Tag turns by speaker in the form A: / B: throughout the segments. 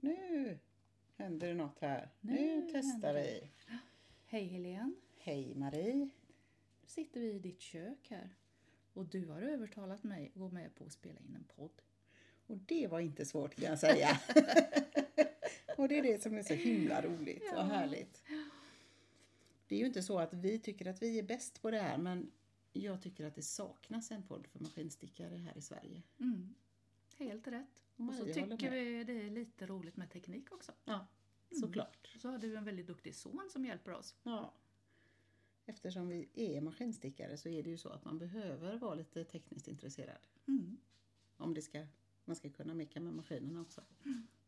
A: nu händer det något här. Nu,
B: Nu
A: testar
B: händer
A: vi.
B: det. Hej Helene,
A: Hej Marie.
B: sitter vi i ditt kök här och du har övertalat mig att gå med på att spela in en podd.
A: Och det var inte svårt kan jag säga. och det är det som är så himla roligt och härligt. Det är ju inte så att vi tycker att vi är bäst på det här men jag tycker att det saknas en podd för maskinstickare här i Sverige.
B: Mm. Helt rätt. Och så
A: Marie håller
B: tycker
A: med.
B: vi det är lite roligt med teknik också.
A: Ja,
B: Mm.
A: såklart.
B: Så har du en väldigt duktig son som hjälper oss.
A: Ja. Eftersom vi är maskinstickare så är det ju så att man behöver vara lite tekniskt intresserad.
B: Mm.
A: Om det ska, man ska kunna meka med maskinerna också.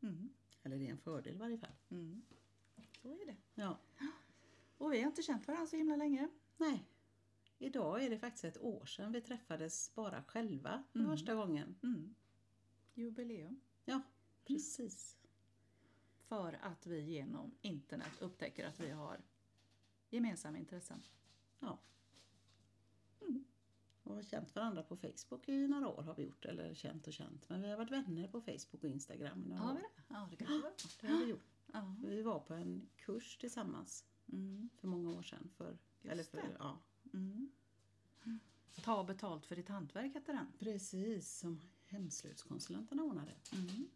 B: Mm.
A: Eller det är en fördel i varje fall.
B: Mm. Så är det.
A: Ja.
B: Och vi har inte känt varandra så himla länge.
A: Nej. Idag är det faktiskt ett år sedan vi träffades bara själva för
B: Mm.
A: första gången.
B: Mm. Jubileum.
A: Ja, precis.
B: För att vi genom internet upptäcker att vi har gemensamma intressen.
A: Ja. Och har känt varandra på Facebook i några år har vi gjort. Eller känt och känt. Men vi har varit vänner på Facebook och Instagram i några
B: Har vi
A: år.
B: det? Ja, det kanske var det.
A: Det har vi gjort.
B: Ja.
A: Vi var på en kurs tillsammans
B: Mm.
A: för många år sedan. För,
B: Just
A: eller för,
B: det.
A: ja,
B: Mm. Ta betalt för ditt hantverk heter den.
A: precis som hemslöjdskonsulenterna ordnade.
B: Mm.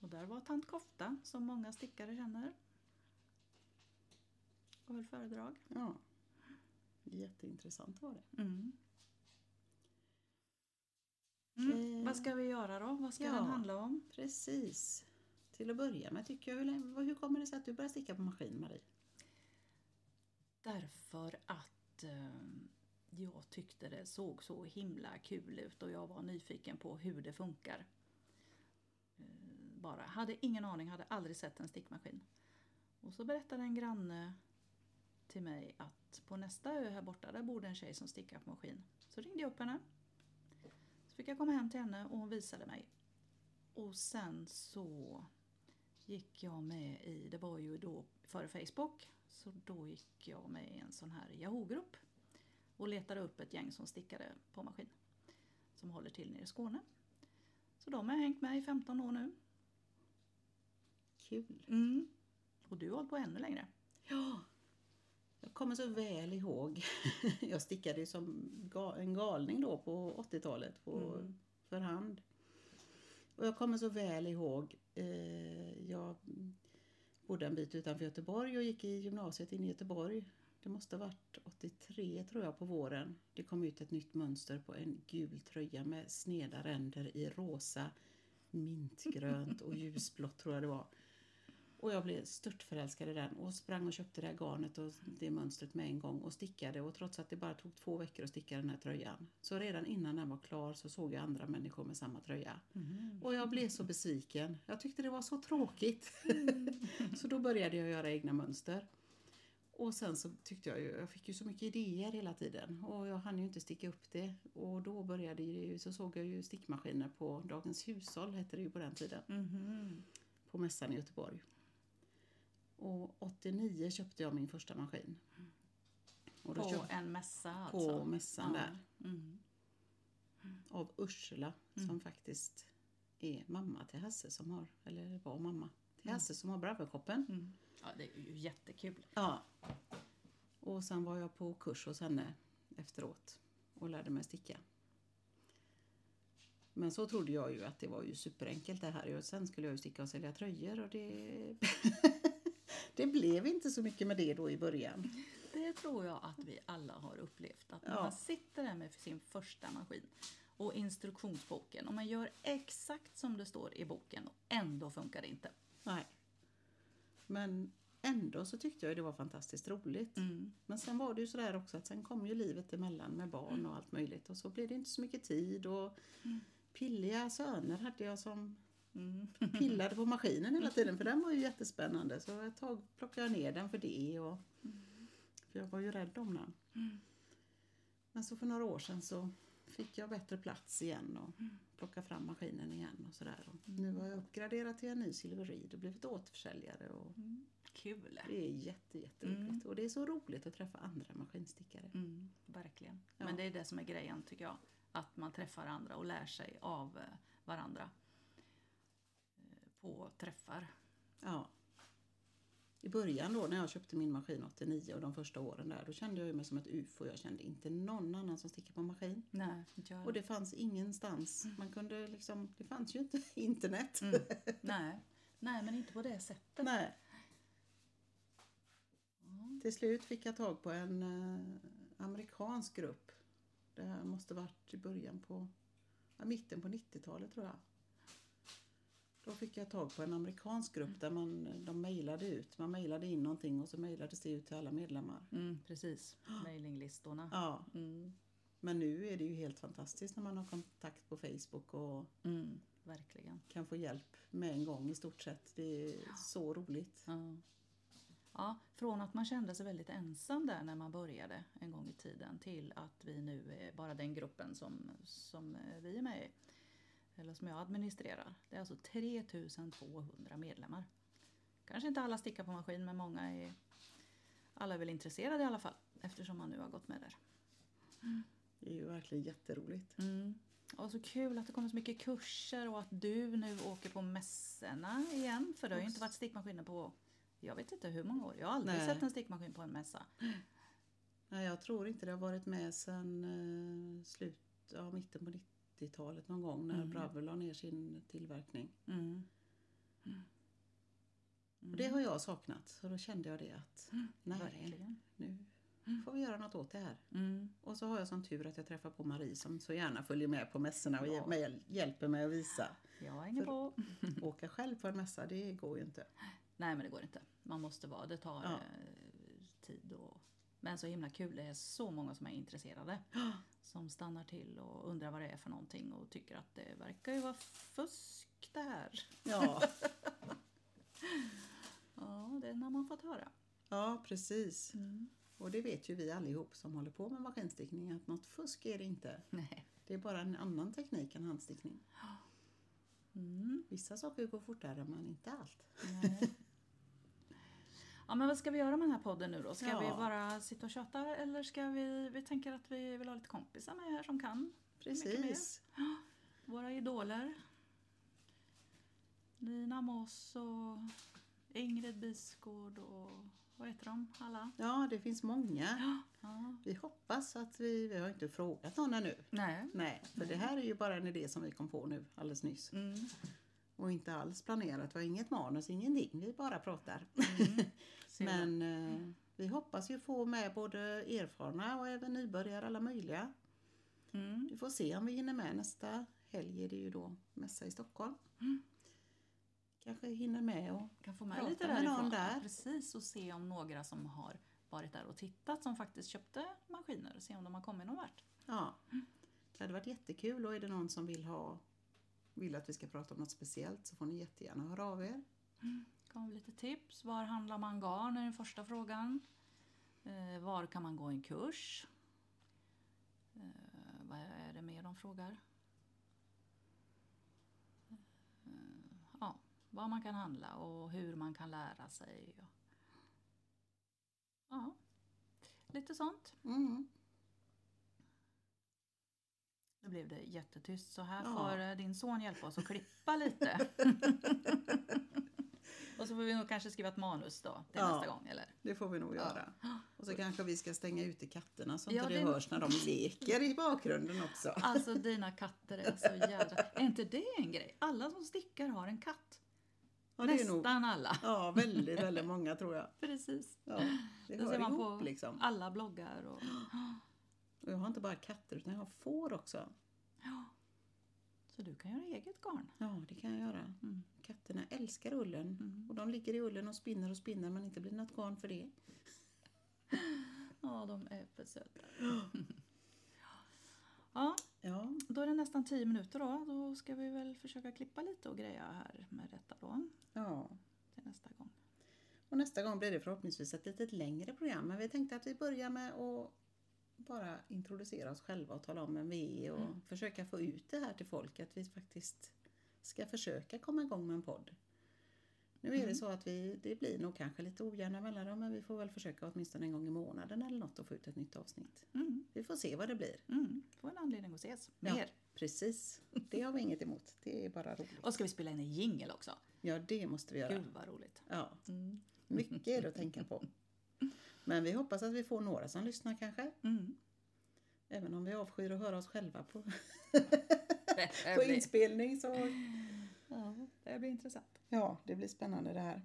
B: Och där var tant Kofta, som många stickare känner. Och höll föredrag.
A: Ja. Jätteintressant var det.
B: Mm.
A: Eh.
B: Vad ska vi göra då? Vad ska
A: Ja.
B: den handla om?
A: Precis. Till att börja med tycker jag, hur, länge- hur kommer det sig att du började sticka på maskin Marie?
B: Därför att eh, jag tyckte det såg så himla kul ut och jag var nyfiken på hur det funkar. Eh, bara. Hade ingen aning, hade aldrig sett en stickmaskin. Och så berättade en granne till mig att på nästa ö här borta där bodde en tjej som stickar på maskin. Så ringde jag upp henne. Så fick jag komma hem till henne och hon visade mig. Och sen så gick jag med i, det var ju då före Facebook, så då gick jag med i en sån här Yahoo-grupp och letade upp ett gäng som stickade på maskin som håller till nere i Skåne. Så de har jag hängt med i 15 år nu. Mm.
A: Kul.
B: Och du har hållit på ännu längre.
A: Ja. Jag kommer så väl ihåg. jag stickade ju som ga- en galning då på 80-talet på,
B: Mm.
A: för hand. Och jag kommer så väl ihåg. Eh, jag bodde en bit utanför Göteborg och gick i gymnasiet in i Göteborg. Det måste ha varit 83 tror jag på våren. Det kom ut ett nytt mönster på en gul tröja med sneda ränder i rosa, mintgrönt och ljusblått tror jag det var. Och jag blev störtförälskad i den och sprang och köpte det här garnet och det mönstret med en gång och stickade och trots att det bara tog två veckor att sticka den här tröjan så redan innan den var klar så såg jag andra människor med samma tröja.
B: Mm.
A: Och jag blev så besviken. Jag tyckte det var så tråkigt. så då började jag göra egna mönster. Och sen så tyckte jag ju, jag fick ju så mycket idéer hela tiden och jag hann ju inte sticka upp det. Och då började det ju, så såg jag ju stickmaskiner på Dagens Hushåll hette det ju på den tiden på mässan i Göteborg. Och 89 köpte jag min första maskin. Och då
B: På
A: köpte
B: en mässa
A: på
B: alltså.
A: mässan
B: Ja. Mm.
A: där. Av Ursula som faktiskt är mamma till Hasse som har, eller var mamma till
B: Mm.
A: Hasse som har Braverkoppen.
B: Ja, det är ju jättekul.
A: Ja. Och sen var jag på kurs hos henne efteråt och lärde mig sticka. Men så trodde jag ju att det var ju superenkelt det här och sen skulle jag ju sticka och sälja tröjor och det... det blev inte så mycket med det då i början.
B: Det tror jag att vi alla har upplevt. Att när
A: Ja.
B: man sitter där med sin första maskin och instruktionsboken och man gör exakt som det står i boken och ändå funkar det inte.
A: Nej. Men ändå så tyckte jag det var fantastiskt roligt.
B: Mm.
A: Men sen var det ju sådär också att sen kom ju livet emellan med barn och allt möjligt och så blev det inte så mycket tid och pilliga söner hade jag som Mm. pillade på maskinen hela tiden för den var ju jättespännande så ett tag plockade jag ner den för det och för jag var ju rädd om den. Men så för några år sedan så fick jag bättre plats igen och plockade fram maskinen igen och sådär. Och Nu har jag uppgraderat till en ny Silverid och blivit återförsäljare och
B: Kul!
A: det är jätte, jätteroligt. Och det är så roligt att träffa andra maskinstickare.
B: Mm, verkligen. Men det är det som är grejen tycker jag. Att man träffar andra och lär sig av eh, varandra. på träffar.
A: Ja. I början då när jag köpte min maskin 89 och de första åren där, då kände jag ju mig som ett ufo. Jag kände inte någon annan som sticker på maskin.
B: Nej, inte jag
A: Och det fanns ingenstans. Man kunde liksom, det fanns ju inte internet.
B: Mm. Nej. Nej, men inte på det sättet.
A: Nej.
B: Ja.
A: Till slut fick jag tag på en eh, amerikansk grupp. Det här måste varit i början på, ja, mitten på 90-talet tror jag. Då fick jag tag på en amerikansk grupp där man, de mejlade ut. Man mejlade in någonting och så mejlades det ut till alla medlemmar.
B: Mm, precis, mejlinglistorna.
A: Ja,
B: Mm.
A: men nu är det ju helt fantastiskt när man har kontakt på Facebook och
B: Mm, verkligen.
A: kan få hjälp med en gång i stort sett. Det är så roligt.
B: Ja. Ja, från att man kände sig väldigt ensam där när man började en gång i tiden till att vi nu är bara den gruppen som, som eh, vi är med i. Eller som jag administrerar. Det är alltså 3200 medlemmar. Kanske inte alla stickar på maskin men många är, alla är väl intresserade i alla fall eftersom man nu har gått med där.
A: Det är ju verkligen jätteroligt.
B: Mm. Och så kul att det kommer så mycket kurser och att du nu åker på mässorna igen. För det har ju inte varit stickmaskiner på, jag vet inte hur många år. Jag har aldrig
A: Nej.
B: sett en stickmaskin på en mässa.
A: Nej, jag tror inte det har varit med sedan eh, slut, ja, mitten på 90-talet någon gång när
B: Mm.
A: Bravo la ner sin tillverkning.
B: Mm.
A: Och det har jag saknat så då kände jag det att nej,
B: Mm. Verkligen.
A: nu får vi göra något åt det här.
B: Mm.
A: Och så har jag som tur att jag träffar på Marie som så gärna följer med på mässorna och
B: Ja.
A: hjäl- mig- hjälper mig att visa.
B: Jag hänger
A: För-
B: på.
A: Åka själv på en mässa, det går ju inte.
B: Nej men det går inte. Man måste vara, det tar
A: Ja.
B: eh, tid. Och... Men så himla kul, det är så många som är intresserade. Som stannar till och undrar vad det är för någonting och tycker att det verkar ju vara fusk det här.
A: Ja,
B: Ja, det är när man fått höra.
A: ja precis. Och det vet ju vi allihop som håller på med maskinstickning att något fusk är det inte.
B: Nej.
A: Det är bara en annan teknik än handstickning.
B: Mm.
A: Vissa saker går fortare men inte allt.
B: Nej. Ja men vad ska vi göra med den här podden nu då? Ska
A: Ja.
B: vi bara sitta och köta eller ska vi, vi tänker att vi vill ha lite kompisar med här som kan
A: Precis.
B: Våra idoler. Nina Moss och Ingrid Bisgård och vad heter de alla?
A: Ja, det finns många.
B: Ja.
A: Vi hoppas att vi, vi har inte frågat någon ännu.
B: Nej.
A: Nej, för det här är ju bara en idé som vi kom på nu alldeles nyss.
B: Mm.
A: Och inte alls planerat, vi har inget manus, ingenting, vi bara pratar.
B: Ser du?
A: Men eh, vi hoppas ju få med både erfarna och även nybörjare, alla möjliga.
B: Mm.
A: Vi får se om vi hinner med nästa helg är det ju då mässa i Stockholm.
B: Mm.
A: Kanske hinner med och
B: kan få med
A: Prata
B: lite
A: med någon
B: därifrån.
A: där.
B: Precis, och se om några som har varit där och tittat som faktiskt köpte maskiner, se om de har kommit någon vart.
A: Ja.
B: Mm.
A: Det hade varit jättekul och är det någon som vill ha vill att vi ska prata om något speciellt så får ni jättegärna höra av er.
B: Gav lite tips. Var handlar man garn? är den första frågan. Eh, var kan man gå en kurs? Eh, vad är det mer de frågar? Eh, ja, vad man kan handla och hur man kan lära sig. och- Ja, lite sånt.
A: Mm.
B: Nu blev det jättetyst så här
A: Ja.
B: får eh, din son hjälpa oss att klippa lite. och så får vi nog kanske skriva ett manus då till
A: Ja.
B: nästa gång. Eller?
A: Det får vi nog
B: Ja.
A: göra. Och så kanske vi ska stänga ute katterna så
B: Ja,
A: inte det,
B: det-
A: hörs när de leker i bakgrunden också.
B: Alltså dina katter är så jädra... Är inte det en grej? Alla som stickar har en katt.
A: Ja, det är
B: Nästan
A: nog,
B: alla.
A: ja väldigt, väldigt många tror jag.
B: Precis.
A: Ja, det
B: Då
A: hör
B: ser man
A: ihop
B: på
A: liksom.
B: alla bloggar och...
A: Och jag har inte bara katter utan jag har får också.
B: Så du kan göra eget garn.
A: Ja, det kan jag göra.
B: Mm.
A: Katterna älskar ullen. Och de ligger i ullen och spinner och spinner men inte blir något garn för det.
B: Ja, de är för söta. Ja,
A: Ja,
B: då är det nästan 10 minuter då. Då ska vi väl försöka klippa lite och greja här med detta då.
A: ja.
B: Till nästa gång.
A: Och nästa gång blir det förhoppningsvis ett lite längre program. Men vi tänkte att vi börjar med att bara introducera oss själva och tala om vem vi är och försöka få ut det här till folk. Att vi faktiskt ska försöka komma igång med en podd. Nu är det så att vi, det blir nog kanske lite ojämna mellanrum men vi får väl försöka åtminstone en gång i månaden eller något att få ut ett nytt avsnitt.
B: Mm.
A: Vi får se vad det blir.
B: Mm. Får en anledning att ses.
A: Ja.
B: Mer.
A: Precis, det har vi inget emot. Det är bara roligt.
B: Och ska vi spela in en jingel också?
A: Ja, det måste vi göra.
B: Gud vad roligt.
A: Ja,
B: Mm.
A: mycket är det att tänka på. Men vi hoppas att vi får några som lyssnar kanske.
B: Mm.
A: Även om vi avskyr att höra oss själva på,
B: Det, här
A: på
B: blir,
A: inspelning. Så...
B: ja, det här blir intressant.
A: Ja, det blir spännande det här.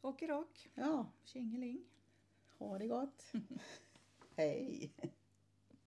B: Åker rock,
A: Ja,
B: tjingeling.
A: ha det gott. Hej!